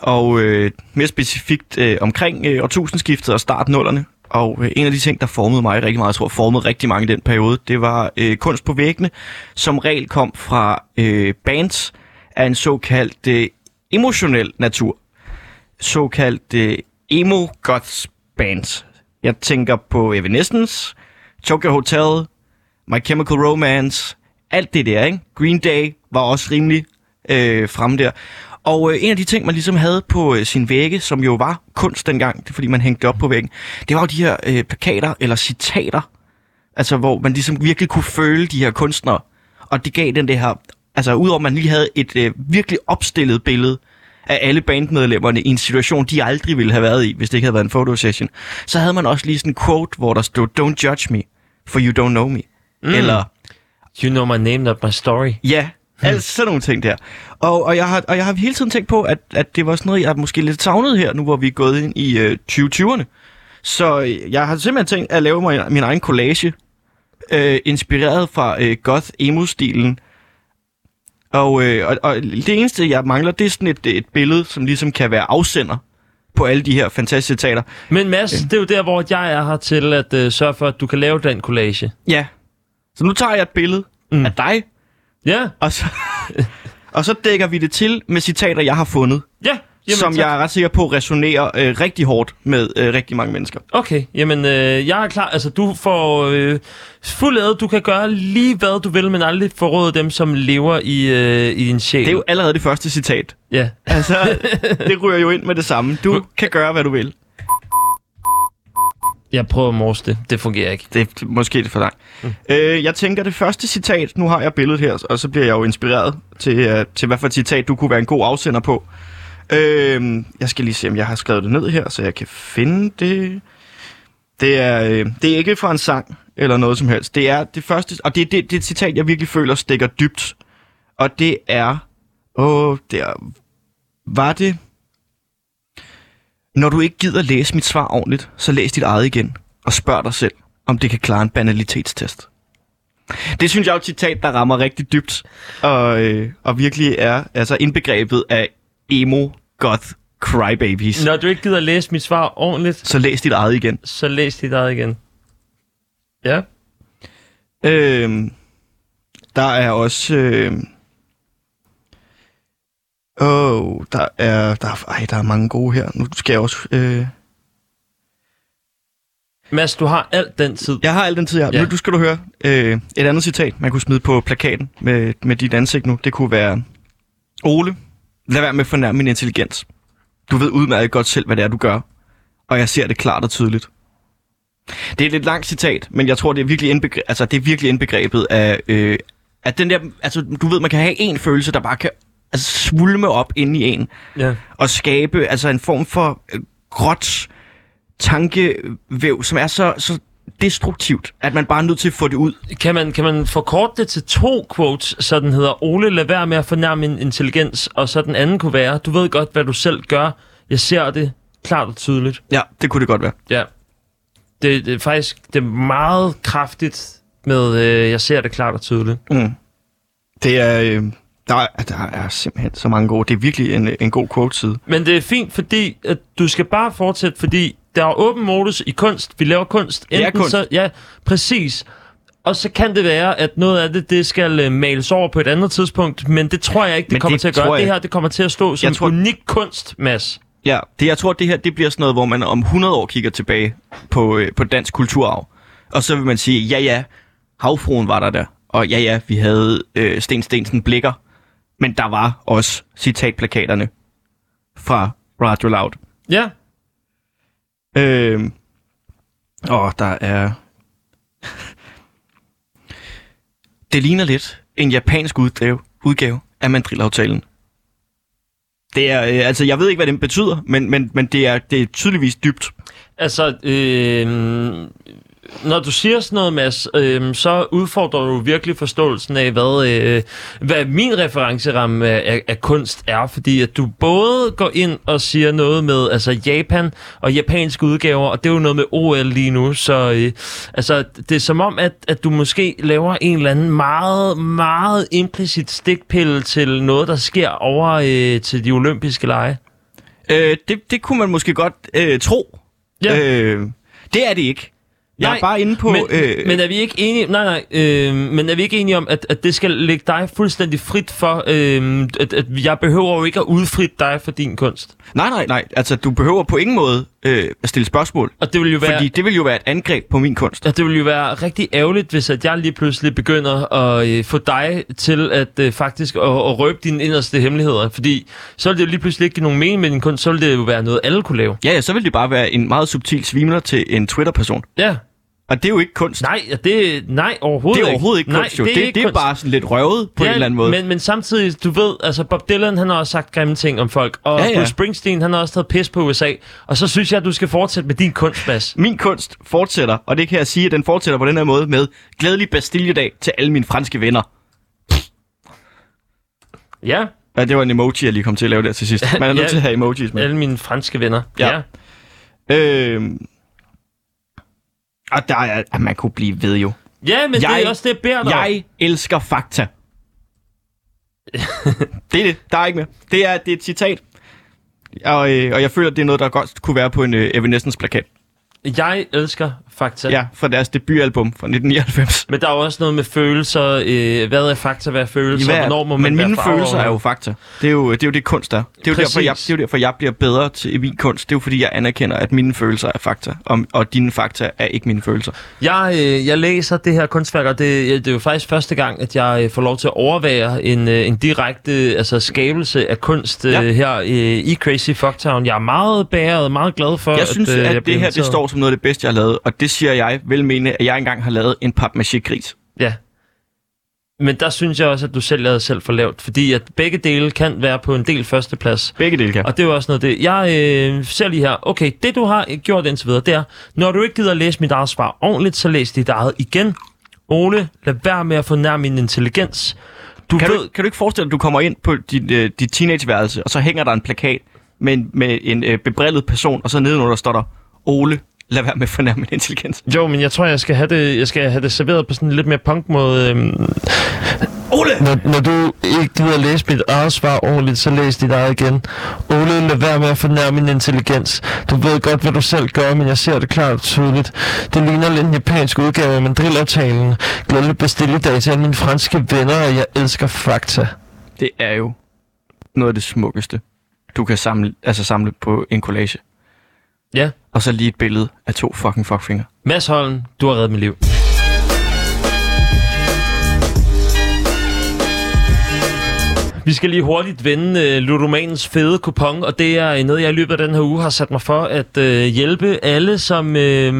Og øh, mere specifikt øh, omkring øh, årtusindskiftet og start nullerne. Og øh, en af de ting, der formede mig rigtig meget, jeg tror formede rigtig mange i den periode, det var øh, kunst på væggene, som regel kom fra øh, bands af en såkaldt øh, emotionel natur. Såkaldt øh, emo-goths bands. Jeg tænker på Evanescence, Tokyo Hotel, My Chemical Romance, alt det der, ikke? Green Day var også rimelig øh, fremme der. Og øh, en af de ting, man ligesom havde på øh, sin vægge, som jo var kunst dengang, det er fordi man hængte det op på væggen, det var jo de her øh, plakater eller citater, altså hvor man ligesom virkelig kunne føle de her kunstnere. Og det gav den det her, altså udover at man lige havde et øh, virkelig opstillet billede af alle bandmedlemmerne i en situation, de aldrig ville have været i, hvis det ikke havde været en fotosession, så havde man også lige sådan en quote, hvor der stod, don't judge me, for you don't know me. Mm. Eller
You know my name, not my story.
Ja, alt sådan nogle ting der. Og, og, jeg har, og jeg har hele tiden tænkt på, at, at det var sådan noget, jeg måske lidt savnede her, nu hvor vi er gået ind i øh, 2020'erne. Så øh, jeg har simpelthen tænkt at lave mig, min egen collage, øh, inspireret fra øh, goth-emo-stilen. Og, øh, og, og det eneste, jeg mangler, det er sådan et, et billede, som ligesom kan være afsender på alle de her fantastiske teater.
Men Mads, det er jo der, hvor jeg er her til at øh, sørge for, at du kan lave den collage.
Ja. Så nu tager jeg et billede
Mm.
mm. af dig,
Ja,
og så, og så dækker vi det til med citater, jeg har fundet.
ja.
Jamen, som
tak.
tak. jeg er ret sikker på resonerer øh, rigtig hårdt med øh, rigtig mange mennesker.
Okay, jamen øh, jeg er klar. Altså, du får øh, fuld ad. Du kan gøre lige hvad du vil, men aldrig forråde dem, som lever i, øh, i din sjæl.
Det er jo allerede det første citat.
Ja.
Altså, det ryger jo ind med det samme. Du kan gøre, hvad du vil.
Jeg prøver at morse det. Det fungerer ikke.
Det er måske lidt for langt. Mm. Øh, jeg tænker, det første citat, nu har jeg billedet her, og så bliver jeg jo inspireret til, øh, til hvad for et citat, du kunne være en god afsender på. Øh, jeg skal lige se, om jeg har skrevet det ned her, så jeg kan finde det. Det er, øh, det er ikke fra en sang eller noget som helst. Det er det første, og det er det, det er et citat, jeg virkelig føler stikker dybt. Og det er, åh, det er, var det, når du ikke gider læse mit svar ordentligt, så læs dit eget igen og spørg dig selv, om det kan klare en banalitetstest. Det synes jeg er et citat, der rammer rigtig dybt, og, øh, og virkelig er altså indbegrebet af emo goth crybabies. No.
Når du ikke gider læse mit svar ordentligt,
Så læs dit eget igen.
så læs dit eget igen. Ja.
Øhm, der er også... Øh, oh, der er, der, er, ej, der er mange gode her. Nu skal jeg også... Øh,
Mads, du har alt den tid.
Jeg har al den tid, jeg har.
Ja.
Ja. Nu du skal du høre øh, et andet citat, man kunne smide på plakaten med, med dit ansigt nu. Det kunne være, Ole, lad være med at fornærme min intelligens. Du ved udmærket godt selv, hvad det er, du gør. Og jeg ser det klart og tydeligt. Det er et lidt langt citat, men jeg tror, det er virkelig, indbegre- altså, det er virkelig indbegrebet af, øh, at den der, altså, du ved, man kan have en følelse, der bare kan altså, svulme op inde i en
Ja.
at skabe altså en form for øh, gråt tankevæv, som er så, så destruktivt, at man bare er nødt til at få det ud.
Kan man, kan man forkorte det til to quotes, så den hedder, Ole, lad være med at fornærme min intelligens, og så den anden kunne være, du ved godt, hvad du selv gør. Jeg ser det klart og tydeligt.
Ja, det kunne det godt være.
Ja. Det, det er faktisk det er meget kraftigt med, øh, jeg ser det klart og tydeligt.
Det er, øh, der, er- der er simpelthen så mange gode. Det er virkelig en, en god quote-side.
Men det er fint, fordi at du skal bare fortsætte, fordi der er åben modus i kunst. Vi laver kunst.
er kunst.
Så, ja, præcis. Og så kan det være, at noget af det, det skal øh, males over på et andet tidspunkt, men det tror jeg ikke, det
Men
men kommer
det
til at
tror
gøre.
jeg
Det
ikke.
her, det kommer til at stå som tror...
tror-
unik kunst, Mads.
Ja, det, jeg tror, det her det bliver sådan noget, hvor man om 100 år kigger tilbage på, øh, på dansk kulturarv. Og så vil man sige, ja ja, havfruen var der der. Og ja ja, vi havde øh, Sten Stensen Blikker. Men der var også citatplakaterne fra Radio Loud.
Ja,
Øh, og der er... det ligner lidt en japansk udgave, udgave af mandrilaftalen. Det er, øh, altså, jeg ved ikke, hvad den betyder, men, men, men det, er, det er tydeligvis dybt.
altså... Øh, når du siger sådan noget, Mads, øh, så udfordrer du virkelig forståelsen af, hvad, øh, hvad min referenceramme af, af, af kunst er. Fordi at du både går ind og siger noget med altså Japan og japanske udgaver, og det er jo noget med OL lige nu. Så øh, altså, det er som om, at, at du måske laver en eller anden meget, meget implicit stikpille til noget, der sker over øh, til de olympiske lege.
Øh, det, det kunne man måske godt øh, tro.
Ja.
Øh, det er det ikke. Jeg
Nej,
er bare inde på...
men,
øh,
men er vi ikke enige? Nej, nej. Øh, men er vi ikke enige om, at, at det skal ligge dig fuldstændig frit for? Øh, at, at jeg behøver jo ikke at udfritte dig for din kunst.
Nej, nej, nej. Altså, du behøver på ingen måde øh, at stille spørgsmål.
Og det vil jo være.
Fordi det vil jo være et angreb på min kunst.
Og det ville jo være rigtig ærgerligt, hvis at jeg lige pludselig begynder at øh, få dig til at øh, faktisk at, at røbe dine inderste hemmeligheder. Fordi så ville det jo lige pludselig ikke give nogen mening med din kunst. Så ville det jo være noget, alle kunne lave.
Ja, ja, så vil det bare være en meget subtil svimler til en Twitter-person.
Ja.
Og det er jo ikke kunst.
Nej, og det, nej overhovedet
det er overhovedet ikke
nej,
kunst, jo. Det, det,
ikke
det er
kunst.
bare sådan lidt røvet på en eller anden måde.
Men, men samtidig, du ved, altså Bob Dylan, han har også sagt grimme ting om folk, og
Ja,
ja,
ja.
ja. Bruce Springsteen, han har også taget pis på USA, og så synes jeg, at du skal fortsætte med din kunstbas.
Min kunst fortsætter, og det kan jeg sige, at den fortsætter på den her måde med glædelig Bastilledag til alle mine franske venner.
Ja,
Ja, det var en emoji, jeg lige kom til at lave der til sidst. Man er nødt
Ja.
til at have emojis med.
alle mine franske venner.
Ja.
Ja. ja.
Øhm. Og der er... at man kunne blive ved jo.
Ja, men jeg, det
Jeg-
er også det, jeg beder dig om.
Jeg elsker fakta. det er det. Der er ikke mere. Det er, det er et citat. Og, øh, og jeg føler, det er noget, der godt kunne være på en øh, Evanescence-plakat.
Jeg elsker fakta.
Ja, fra deres debutalbum fra 1999.
Men der er jo også noget med følelser. Øh, hvad er fakta, hvad er følelser?
Hvad er-
Hvornår må man
men
være
mine
farver?
følelser er jo fakta. Det er jo det, er jo det kunst er. Det er jo,
Præcis.
derfor jeg, det er jo derfor, jeg bliver bedre til i min kunst. Det er jo fordi, jeg anerkender, at mine følelser er fakta, og, og dine fakta er ikke mine følelser.
Jeg, øh, jeg læser det her kunstværk, og det, øh, det er jo faktisk første gang, at jeg øh, får lov til at overvære en, øh, en direkte altså, skabelse af kunst øh,
Ja.
ja. her øh, i Crazy Fucktown. Jeg er meget bæret, meget glad for,
Jeg synes,
øh,
at,
jeg
at det
blev
her det
inviteret.
står som noget af det bedste, jeg har lavet, og det siger jeg vel mene, at jeg engang har lavet en papmaché-gris.
Ja. Men der synes jeg også, at du selv lavede selv for lavt, fordi at begge dele kan være på en del førsteplads.
Begge dele kan.
Og det er jo også noget af det. Jeg øh, ser lige her. Okay, det du har øh, gjort indtil videre, det er, når du ikke gider at læse mit eget svar ordentligt, så læs dit eget igen. Ole, lad være med at fornærme min intelligens. Du
Kan
ved,
du, ikke- kan du ikke forestille dig, at du kommer ind på dit, øh, dit teenageværelse, og så hænger der en plakat med, en- med en øh, bebrillet person, og så nedenunder står der, Ole, lad være med at fornærme min intelligens.
Jo, men jeg tror, jeg skal have det, jeg skal have det serveret på sådan en lidt mere punk måde. Øhm,
Ole!
når, når du ikke gider at læse mit eget svar ordentligt, så læs dit eget igen. Ole, lad være med at fornærme min intelligens. Du ved godt, hvad du selv gør, men jeg ser det klart og tydeligt. Det ligner lidt en japansk udgave af mandrilaftalen. Glædelig bestilledage til alle mine franske venner, og jeg elsker fakta.
Det er jo noget af det smukkeste, du kan samle, altså samle på en collage.
Ja.
Og så lige et billede af to fucking fuckfinger.
Mads Holm, du har reddet mit liv. Vi skal lige hurtigt vende øh, Ludomanens fede kupon, og det er øh, noget, jeg i løbet af den her uge har sat mig for at øh, hjælpe alle, som øh,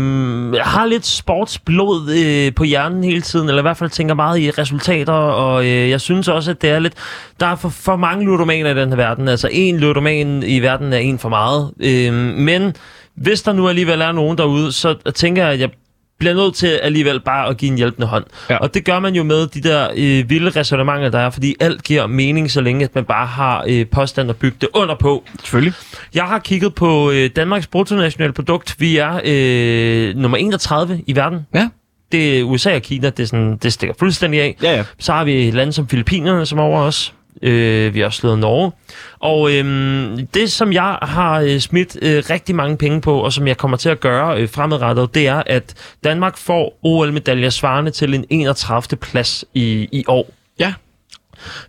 har lidt sportsblod øh, på hjernen hele tiden, eller i hvert fald tænker meget i resultater, og øh, jeg synes også, at det er lidt... Der er for, for mange ludomaner i den her verden, altså en ludoman i verden er en for meget, øh, men hvis der nu alligevel er nogen derude, så tænker jeg, at jeg bliver nødt til alligevel bare at give en hjælpende hånd.
Ja.
Ja. Og det gør man jo med de der øh, vilde resonemanger, der er, fordi alt giver mening, så længe at man bare har øh, påstand at bygge det under på.
Selvfølgelig.
Jeg har kigget på øh, Danmarks bruttonationalprodukt. Vi er øh, nummer 31 i verden.
Ja.
Det er USA og Kina, det, er sådan, det stikker fuldstændig af.
Ja, ja.
Så har vi lande som Filippinerne, som er over os. Øh, vi har også slået Norge. Og øhm, det, som jeg har øh, smidt øh, rigtig mange penge på, og som jeg kommer til at gøre øh, fremadrettet, det er, at Danmark får OL-medaljer svarende til en 31. plads i, i år.
Ja.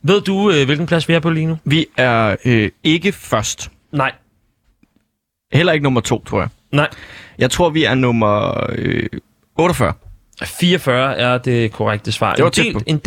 Ved du, øh, hvilken plads vi er på lige nu?
Vi er øh, ikke først.
Nej.
Heller ikke nummer to, tror jeg.
Nej.
Jeg tror, vi er nummer øh, 48.
44 er det korrekte svar.
Det var
en,
tæt på.
del, en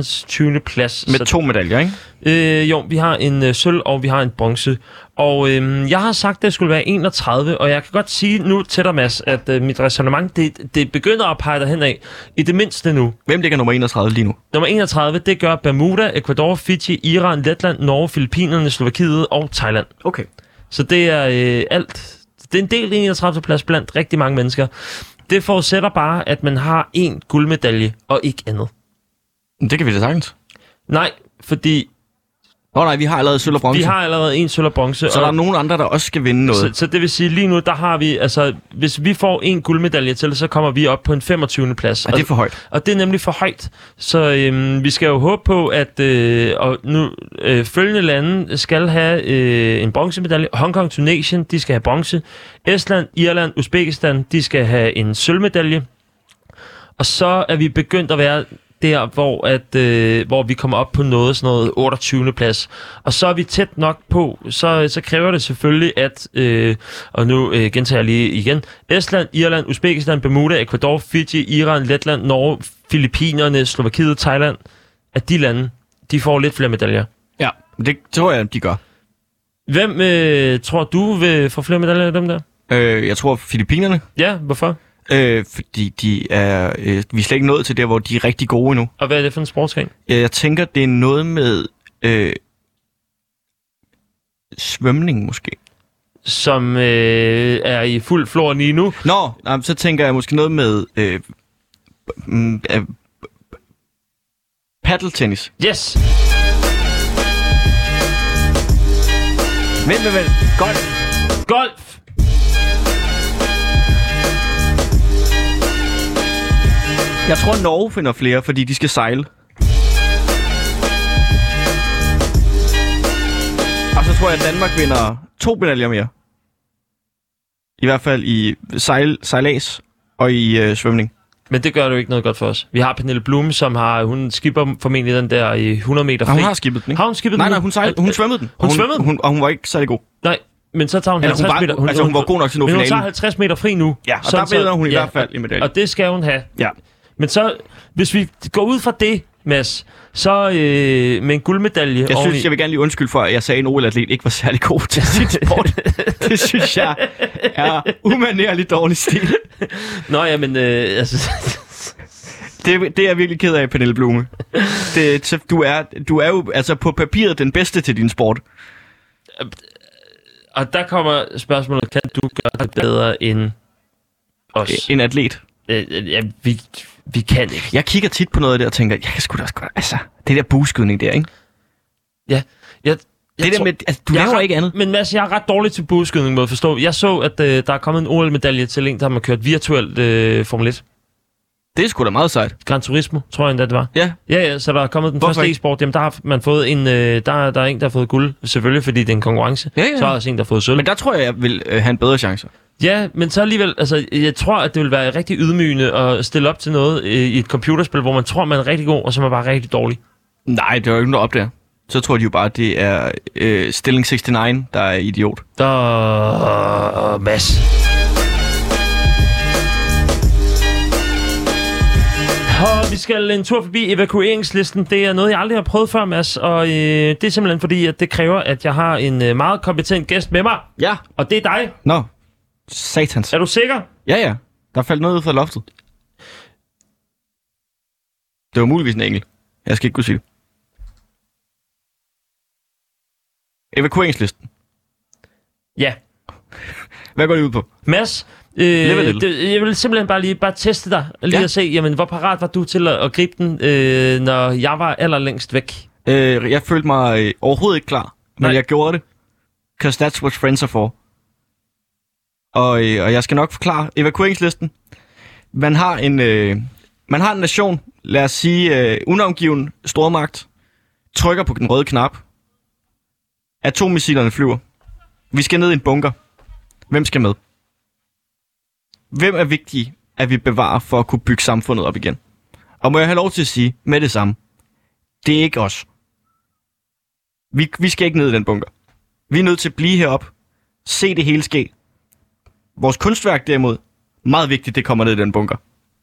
del 44'ernes 20. plads.
Med
så-
to medaljer, ikke?
Øh, jo, vi har en øh, sølv, og vi har en bronze. Og øh, jeg har sagt, at det skulle være 31, og jeg kan godt sige nu til dig, Mads, at øh, mit resonemang, det, det begynder at pege dig henad. I det mindste nu.
Hvem ligger nummer 31 lige nu?
Nummer 31, det gør Bermuda, Ecuador, Fiji, Iran, Letland, Norge, Filippinerne, Slovakiet og Thailand.
Okay.
Så det er øh, alt. Det er en del 31. plads blandt rigtig mange mennesker. Det forudsætter bare, at man har én guldmedalje og ikke andet.
Det kan vi da sagtens.
Nej, fordi
Nå nej, vi har allerede sølv og bronze.
vi har allerede en sølv og bronze.
Så
og
der er nogen andre, der også skal vinde noget.
Så, så det vil sige, lige nu, der har vi, altså, hvis vi får en guldmedalje til, så kommer vi op på en 25. plads.
er det er for højt?
og, og det er nemlig for højt. Så øhm, vi skal jo håbe på, at øh, og nu øh, følgende lande skal have øh, en bronzemedalje. Hongkong, Tunesien, de skal have bronze. Estland, Irland, Uzbekistan, de skal have en sølvmedalje. Og så er vi begyndt at være der, hvor, at, øh, hvor vi kommer op på noget, sådan noget 28. plads. Og så er vi tæt nok på, så, så kræver det selvfølgelig, at, øh, og nu øh, gentager jeg lige igen, Estland, Irland, Uzbekistan, Bermuda, Ecuador, Fiji, Iran, Letland, Norge, Filippinerne, Slovakiet, Thailand, at de lande, de får lidt flere medaljer.
Ja. Det tror jeg, de gør.
Hvem øh, tror du vil få flere medaljer af dem der?
Øh, jeg tror, Filippinerne,
Ja, hvorfor?
øh, fordi de er, øh, vi er slet ikke nået til der, hvor de er rigtig gode endnu. Øh,
Og hvad er det for en sportsgren?
Jeg, jeg tænker, det er noget med øh, svømning måske.
Som øh, er i fuld flor lige nu.
Nå, nej, men så tænker jeg måske noget med øh, mm, øh, paddeltennis.
Yes!
Vent, vent, vent. Godt.
Golf!
Jeg tror, Norge finder flere, fordi de skal sejle. Og så tror jeg, at Danmark vinder to medaljer mere. I hvert fald i sejl, sejlads og i øh, svømning.
Men det gør det jo ikke noget godt for os. Vi har Pernille Blume, som har, hun skipper formentlig den der i 100 meter
Og
fri.
hun har skippet den, ikke?
har hun skippet
Nej,
den?
nej, hun, sejl, hun svømmede den.
Hun svømmede den?
Hun, og hun var ikke særlig god.
Nej, men så tager hun
Eller
50
hun var,
meter.
hun, altså, hun var god nok til at nå
Men hun tager
finalen.
50 meter fri nu.
Ja, og
Sådan
der vinder hun i hvert fald en medalje.
Og det skal hun have.
Ja.
Men så, hvis vi går ud fra det, Mads, så øh, med en guldmedalje
Jeg
oveni.
synes, jeg vil gerne lige undskylde for, at jeg sagde, at en OL-atlet ikke var særlig god til sit sport. det synes jeg er umanerligt dårlig stil.
Nå ja, men øh, altså,
Det, det er jeg virkelig ked af, Pernille Blume. Det, så du, er, du er jo altså på papiret den bedste til din sport.
og der kommer spørgsmålet, kan du gøre det bedre end os?
En atlet.
Øh, øh, ja, vi, vi kan ikke.
Jeg kigger tit på noget af det og tænker, jeg kan sgu da også godt... Altså, det der buskydning der, ikke?
Ja, jeg, jeg
det der
tror-
med, altså, du
Jeg er
laver
ret-
ikke andet.
Men Mads, jeg er ret dårlig til bueskydning, må jeg forstå. Jeg så, at øh, der er kommet en OL-medalje til en, der har kørt virtuelt øh, Formel 1.
Det er sgu da meget sejt.
Gran Turismo, tror jeg endda, det var.
Ja,
Ja, ja, så der er kommet den
Hvorfor
første
ikke?
e-sport. Jamen, der har man fået en... Øh, der, der er en, der har fået guld, selvfølgelig, fordi det er en konkurrence.
Ja, ja.
Så er der også en, der har fået sølv.
men der tror jeg, jeg vil øh, have en bedre chance.
Ja, men så alligevel... Altså, jeg tror, at det vil være rigtig ydmygende at stille op til noget øh, i et computerspil, hvor man tror, man er rigtig god, og så er man bare rigtig dårlig.
Nej, det er jo ikke noget op der. Så tror de jo bare, at det er øh, Stilling 69, der er idiot.
Der... Mads. Og vi skal en tur forbi evakueringslisten. Det er noget, jeg aldrig har prøvet før, Mads. Og øh, det er simpelthen fordi, at det kræver, at jeg har en øh, meget kompetent gæst med mig.
Ja.
Og det er dig.
Nå, satans.
Er du sikker?
Ja, ja. Der faldt noget ud fra loftet. Det var muligvis en engel. Jeg skal ikke kunne sige det. Evakueringslisten.
Ja.
Hvad går det ud på?
Mads, Øh,
Lidt af lidt.
det, jeg vil simpelthen bare lige bare teste dig, lige
Ja.
ja. at se, jamen, hvor parat var du til at, at gribe den, øh, når jeg var allerlængst væk.
Øh, jeg følte mig øh, overhovedet ikke klar, men
Nej.
jeg gjorde det. Because that's what friends are for. Og, øh, og jeg skal nok forklare evakueringslisten. Man har en, øh, man har en nation, lad os sige øh, unavngiven stormagt, trykker på den røde knap. Atommissilerne flyver. Vi skal ned i en bunker. Hvem skal med? Hvem er vigtig, at vi bevarer for at kunne bygge samfundet op igen? Og må jeg have lov til at sige med det samme, det er ikke os. Vi, vi skal ikke ned i den bunker. Vi er nødt til at blive heroppe, se det hele ske. Vores kunstværk derimod, meget vigtigt, det kommer ned i den bunker.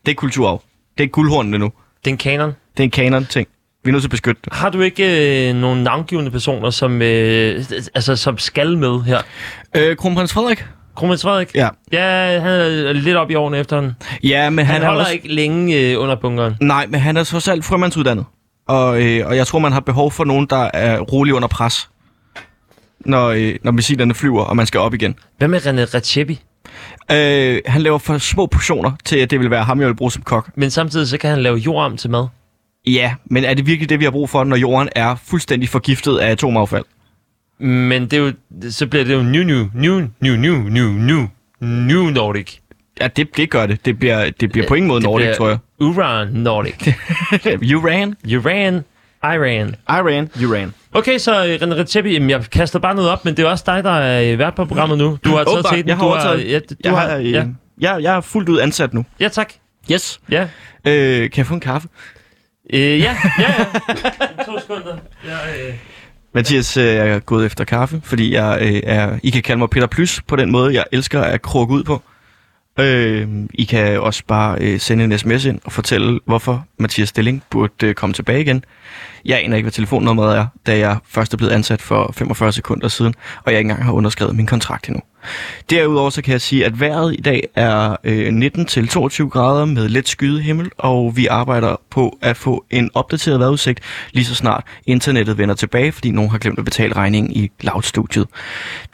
Det er kulturarv. Det er guldhornene nu.
Den kanon.
Det er en kanon-ting. Vi er nødt til at beskytte det.
Har du ikke øh, nogle navngivende personer, som, øh, altså, som skal med her?
Øh, Kronprins Frederik?
Kronprins Frederik?
Ja.
Ja, han er lidt op i årene efter han. Han,
Ja, men han,
han
er
holder
også...
også... ikke længe øh, under bunkeren.
Nej, men han er trods alt frømandsuddannet. Og, øh, og jeg tror, man har behov for nogen, der er rolig under pres, når, øh, når missilerne flyver, og man skal op igen.
Hvad med René Recepi?
Øh, han laver for små portioner til, at det vil være ham, jeg vil bruge som kok.
Men samtidig så kan han lave jord om til mad.
Ja, men er det virkelig det, vi har brug for, når jorden er fuldstændig forgiftet af atomaffald?
Men det er jo, så bliver det jo new, new, new, new, new, new, new, new Nordic.
Ja, det, det gør det. Det bliver, det bliver på ingen måde
Det
Nordic,
bliver
tror jeg.
Uran Nordic.
Uran.
Uran. Iran.
Iran. Uran.
Okay, så øh, René Recepi, jamen, jeg kaster bare noget op, men det er jo også dig, der er øh, vært på programmet nu. Du har taget
Mm. Åbenbart,
til den.
jeg har
du
overtaget.
ja, du
Jeg,
har,
har, øh,
ja.
jeg, jeg er fuldt ud ansat nu.
ja, tak.
Yes.
Ja,
Øh, kan jeg få en kaffe?
øh, ja, ja, ja. to sekunder. Ja, øh.
Mathias, øh, jeg er gået efter kaffe, fordi jeg øh, er... I kan kalde mig Peter Plys på den måde, jeg elsker at krukke ud på. Øh, I kan også bare øh, sende en sms ind og fortælle, hvorfor Mathias Stilling burde øh, komme tilbage igen. Jeg aner ikke, hvad telefonnummeret er, da jeg først er blevet ansat for 45 sekunder siden, og jeg ikke engang har underskrevet min kontrakt endnu. Derudover så kan jeg sige, at vejret i dag er øh, 19-22 grader med let skyet himmel, og vi arbejder på at få en opdateret vejrudsigt lige så snart internettet vender tilbage, fordi nogen har glemt at betale regningen i Loud-studiet.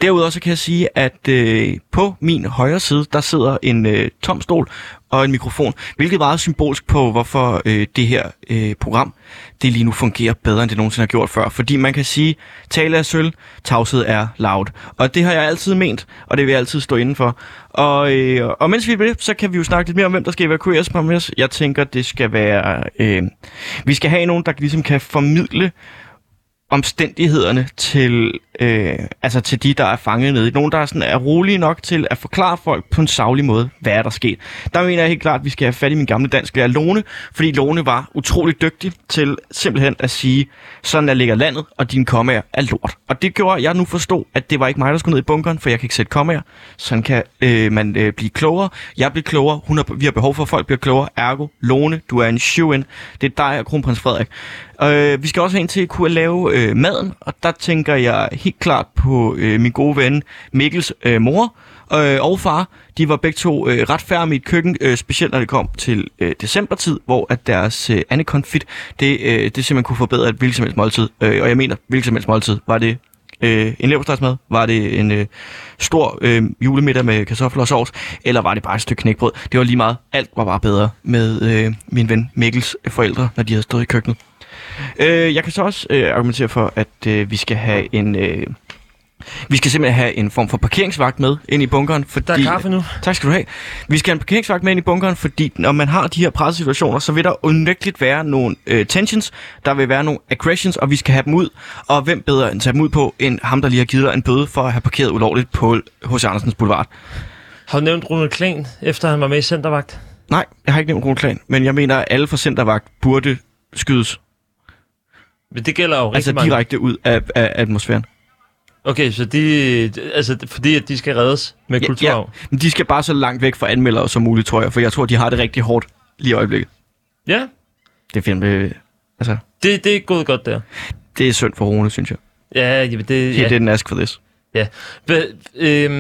Derudover så kan jeg sige, at øh, på min højre side, der sidder en øh, tom stol og en mikrofon, hvilket er meget symbolsk på, hvorfor øh, det her øh, program det lige nu fungerer bedre, end det nogensinde har gjort før. Fordi man kan sige, tale er sølv, tavshed er loud. Og det har jeg altid ment, og det vil jeg altid stå indenfor. Og, øh, og mens vi er ved det, så kan vi jo snakke lidt mere om, hvem der skal evakueres på os. Jeg tænker, det skal være... Øh, vi skal have nogen, der ligesom kan formidle omstændighederne til, øh, altså til de, der er fanget nede. Nogen, der er, sådan, er rolige nok til at forklare folk på en savlig måde, hvad er der sket. Der mener jeg helt klart, at vi skal have fat i min gamle dansk lærer Lone, fordi Lone var utrolig dygtig til simpelthen at sige, sådan der ligger landet, og dine kommaer er lort. Og det gjorde, at jeg nu forstod, at det var ikke mig, der skulle ned i bunkeren, for jeg kan ikke sætte kommaer. Sådan kan øh, man øh, blive klogere. Jeg bliver klogere, hun har, vi har behov for, at folk bliver klogere. Ergo, Lone, du er en shoe in Det er dig og kronprins Frederik. Øh, vi skal også have en til at kunne lave øh, maden, og der tænker jeg helt klart på øh, min gode ven Mikkels øh, mor øh, og far. De var begge to øh, ret færme i et køkken, øh, specielt når det kom til øh, decembertid, hvor at deres øh, andekonfit, det, øh, det simpelthen kunne forbedre et hvilket som helst måltid. Øh, og jeg mener, hvilket som helst måltid. Var det øh, en leverpostejsmad? Var det en øh, stor øh, julemiddag med kartofler og sovs? Eller var det bare et stykke knækbrød? Det var lige meget. Alt var bare bedre med øh, min ven Mikkels forældre, når de havde stået i køkkenet. Øh, jeg kan så også øh, argumentere for, at øh, vi skal have en... Øh, vi skal simpelthen have en form for parkeringsvagt med ind i bunkeren, fordi...
Der er kaffe nu.
Tak skal du have. Vi skal have en parkeringsvagt med ind i bunkeren, fordi når man har de her pressesituationer, så vil der unægteligt være nogle øh, tensions, der vil være nogle aggressions, og vi skal have dem ud. Og hvem bedre end at tage dem ud på, end ham, der lige har givet dig en bøde for at have parkeret ulovligt på H.C. Andersens Boulevard?
Har du nævnt Rune Klen, efter han var med i Centervagt?
Nej, jeg har ikke nævnt Rune Klan, men jeg mener, at alle fra Centervagt burde skydes.
Men det gælder jo rigtig
Altså
mange.
direkte ud af, af atmosfæren.
Okay, så de, altså, fordi at de skal reddes med ja,
ja.
kulturarv.
Men de skal bare så langt væk fra anmeldere som muligt, tror jeg, for jeg tror, de har det rigtig hårdt lige i øjeblikket.
Ja. ja.
Det er fandme, altså,
Det, det er gået godt der.
det er synd for Rune, synes jeg.
Ja, jamen det...
He
Ja.
didn't ask for this.
ja. Hva, øhm,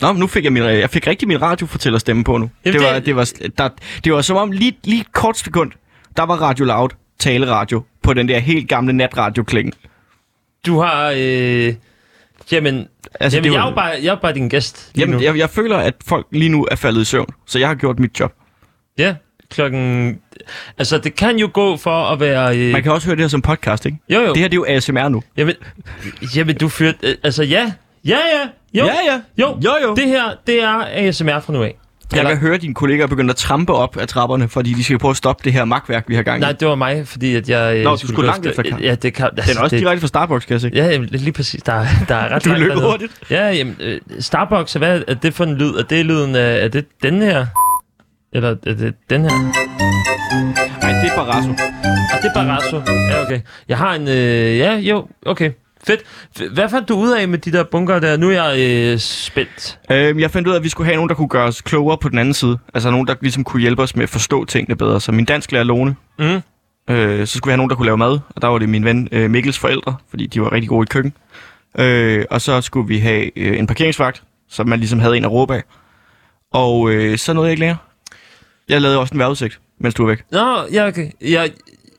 Nå, men nu fik jeg, min, jeg fik rigtig min radiofortæller stemme på nu.
Jamen,
det, var,
det-
det, var, der, det var som om lige, lige et kort sekund, der var Radio Loud taleradio på den der helt gamle natradio
du har... Øh, Jamen,
Altså,
altså, jamen
det
det jeg,
er jo-
er jo bare, jeg er bare din gæst lige Jamen,
Jamen,
nu. Jeg...
jeg, jeg føler, at folk lige nu er faldet i søvn, så jeg har gjort mit job.
Ja, klokken... Altså, det kan jo gå for at være... Øh...
Man kan også høre det her som podcast, ikke?
Jo, jo.
Det her, det er jo ASMR nu.
Jamen, jamen du fyrt... Øh, altså, ja. Ja, ja. Jo.
Ja, ja.
Jo.
Jo, jo.
Det her, det er ASMR fra nu af.
Jeg kan høre, at dine kollegaer begynder at trampe op af trapperne, fordi de skal prøve at stoppe det her magtværk, vi har gang i.
Nej, det var mig, fordi at jeg... øh,
Nå, du skulle
gå
langt
efter-
efter Karl.
Ja, det kan... Altså,
Den er også
det,
direkte fra Starbucks, kan jeg se.
Ja, jamen, lige lige præcis. Der, er- der er ret
Du
langt
løber
dernede.
hurtigt.
Ja, jamen, øh, Starbucks, hvad er det for en lyd? Er det lyden af... Er det den her? Eller er det den her?
Nej, det er Barrasso.
Og det er Barrasso. Ja, okay. Jeg har en... Øh, ja, jo, okay. Fedt. F- Hvad fandt du ud af med de der bunker der? Nu er jeg øh, spændt.
Øhm, jeg fandt ud af, at vi skulle have nogen, der kunne gøre os klogere på den anden side. Altså nogen, der ligesom kunne hjælpe os med at forstå tingene bedre. Så min dansk lærer Lone,
Mm.
øh, så skulle vi have nogen, der kunne lave mad. Og der var det min ven øh, Mikkels forældre, fordi de var rigtig gode i køkken. Øh, og så skulle vi have øh, en parkeringsvagt, som man ligesom havde en at råbe af. Og øh, så nåede jeg ikke længere. Jeg lavede også en vejrudsigt, mens du var væk.
Nå, ja, okay. Jeg,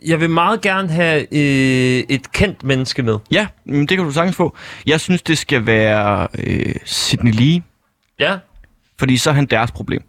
jeg vil meget gerne have øh, et kendt menneske med.
Ja, mm, det kan du sagtens få. Jeg synes, det skal være øh, Sydney Lee,
Ja.
fordi så er han deres problem.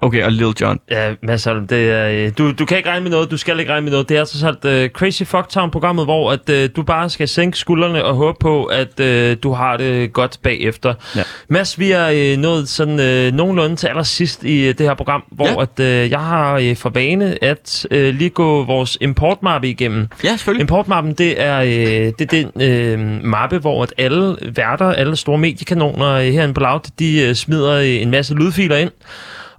Okay, og Lil Jon.
Ja, Mads Holm, det er, øh, du, du kan ikke regne med noget, du skal ikke regne med noget. Det er så sagt øh, Crazy Fucktown-programmet, hvor at, øh, du bare skal sænke skuldrene og håbe på, at øh, du har det godt bagefter.
Ja.
Mads, vi er øh, nået sådan øh, nogenlunde til allersidst i øh, det her program, hvor
Ja.
ja. at, øh, jeg har øh, for vane at øh, lige gå vores importmappe igennem.
Ja, selvfølgelig.
Importmappen, det er, øh, det er den øh, mappe, hvor at alle værter, alle store mediekanoner øh, herinde på Loud, de øh, smider øh, en masse lydfiler ind.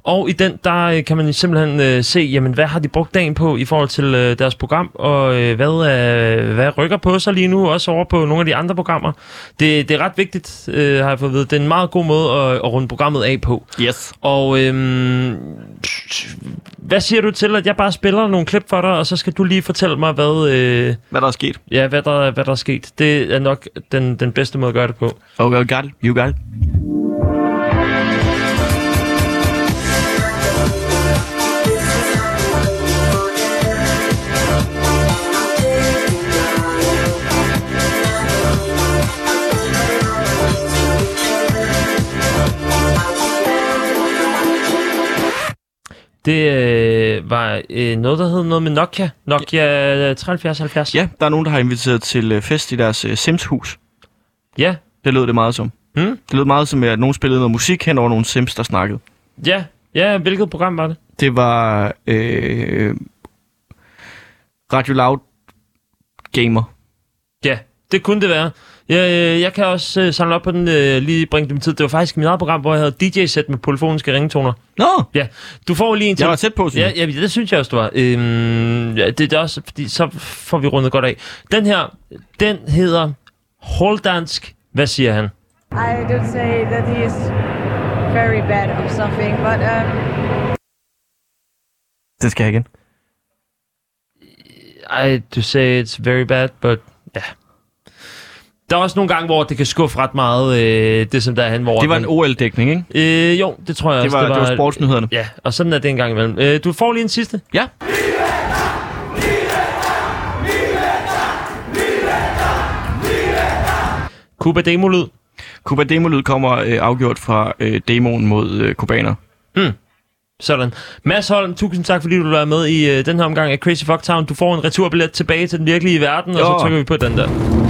Og i den, der øh, kan man simpelthen øh, se, jamen, hvad har de brugt dagen på i forhold til øh, deres program, og øh, hvad, øh, hvad rykker på sig lige nu, også over på nogle af de andre programmer. Det, det er ret vigtigt, øh, har jeg fået at vide. Det er en meget god måde at, at runde programmet af på.
Yes.
Og øhm, hvad siger du til, at jeg bare spiller nogle klip for dig, og så skal du lige fortælle mig, hvad, øh,
Hvad der er sket?
ja, hvad, der, hvad der er sket? Det er nok den, den bedste måde at gøre det på.
Oh, you got it. You got it.
Det øh, var øh, noget, der hed noget med Nokia. øh, Nokia 7370.
Ja, der er nogen, der har inviteret til øh, fest i deres øh, Sims-hus.
Ja.
Det lød det meget som.
Mm.
Det lød meget som, at nogen spillede noget musik hen over nogle Sims, der snakkede.
Ja. Ja, hvilket program var det?
Det var øh, Radio Loud Gamer.
Ja, det kunne det være. Jeg, øh, jeg kan også øh, samle op på den, øh, lige bringe dem tid. Det var faktisk mit eget program, hvor jeg havde DJ-sæt med polifoniske ringetoner.
Nå,
Ja, du får lige en til.
jeg var tæt på, synes
Ja,
jeg.
ja, det synes jeg også, du var. Øhm, ja, det, det er også, fordi så får vi rundet godt af. Den her, den hedder Holdansk. Hvad siger han?
I don't say that he's very bad or something, but um,
Den skal jeg igen.
I to say it's very bad, but ja. Der er også nogle gange, hvor det kan skuffe ret meget, øh, det som der er hen, hvor...
Det var en OL-dækning, ikke?
øh, jo, det tror jeg
Det
også.
var, det var, sportsnyhederne.
Ja, og sådan er det en gang imellem. Øh, du får lige en sidste.
Ja.
Cuba Demolyd.
Cuba Demolyd kommer øh, afgjort fra øh, demoen mod øh, kubaner.
Sådan. Mads Holm, tusind tak, fordi du var med i øh, den her omgang af Crazy Fuck Town. Du får en returbillet tilbage til den virkelige verden, og
Jo.
så trykker vi på den der.